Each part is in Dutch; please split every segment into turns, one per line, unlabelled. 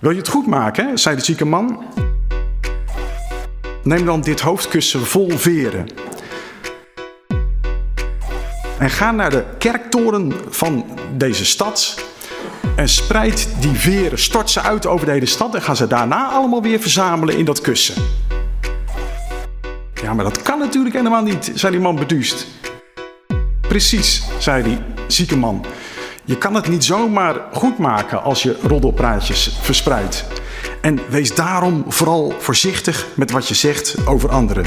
Wil je het goed maken, zei de zieke man. Neem dan dit hoofdkussen vol veren. En ga naar de kerktoren van deze stad. En spreid die veren, stort ze uit over de hele stad. En ga ze daarna allemaal weer verzamelen in dat kussen. Ja, maar dat kan natuurlijk helemaal niet, zei die man beduust. Precies, zei die zieke man. Je kan het niet zomaar goed maken als je roddelpraatjes verspreidt. En wees daarom vooral voorzichtig met wat je zegt over anderen.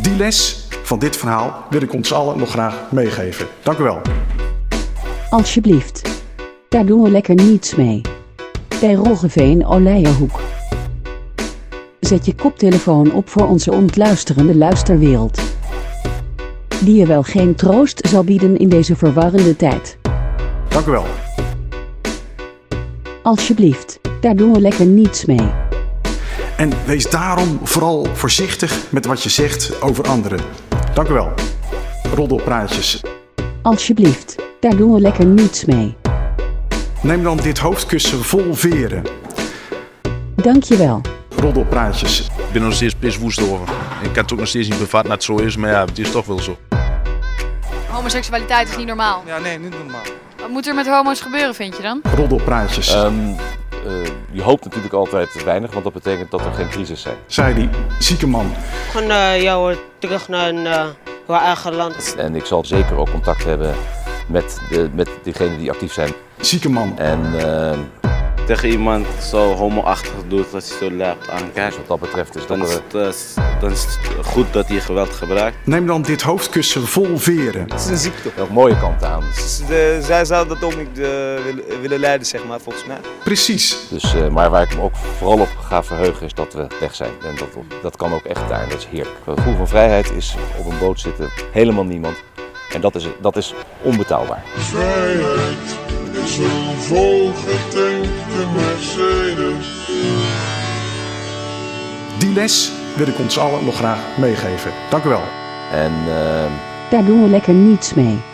Die les van dit verhaal wil ik ons allen nog graag meegeven. Dank u wel.
Alsjeblieft. Daar doen we lekker niets mee. Bij Roggeveen Olijenhoek. Zet je koptelefoon op voor onze ontluisterende luisterwereld. Die je wel geen troost zal bieden in deze verwarrende tijd.
Dank u wel.
Alsjeblieft. Daar doen we lekker niets mee.
En wees daarom vooral voorzichtig met wat je zegt over anderen. Dank u wel. Roddelpraatjes.
Alsjeblieft. Daar doen we lekker niets mee.
Neem dan dit hoofdkussen vol veren.
Dankjewel.
Roddelpraatjes.
Ik ben er nog steeds best woest over. Ik kan het ook nog steeds niet bevatten dat het zo is, maar ja, het is toch wel zo.
Homoseksualiteit is niet normaal.
Ja, Ah, nee, niet normaal.
Wat moet er met homo's gebeuren, vind je dan?
Roddelpraatjes.
Ehm, eh, je hoopt natuurlijk altijd weinig, want dat betekent dat er geen crisis zijn.
Zei die zieke man.
Gewoon eh, jou terug naar een, eh, jouw eigen land.
En ik zal zeker ook contact hebben met, de, met diegenen die actief zijn.
Zieke man.
En eh,
tegen iemand zo homo-achtig doet dat je zo laag aankijkt,
dus wat dat betreft is dat
dan is,
er...
het, eh, dan is het goed dat hij geweld gebruikt.
Neem dan dit hoofdkussen vol veren.
Het is een ziekte.
Wel mooie kant aan.
Dus de, zij zou dat ook niet eh, willen, willen leiden, zeg maar, volgens mij.
Precies.
Dus, eh, maar waar ik me ook vooral op ga verheugen is dat we weg zijn. En dat, dat kan ook echt daar en dat is heerlijk. Het gevoel van vrijheid is op een boot zitten helemaal niemand. En dat is, dat is onbetaalbaar.
Vrijheid is een volgetankte Mercedes.
Die les wil ik ons allen nog graag meegeven. Dank u wel.
En eh,
Daar doen we lekker niets mee.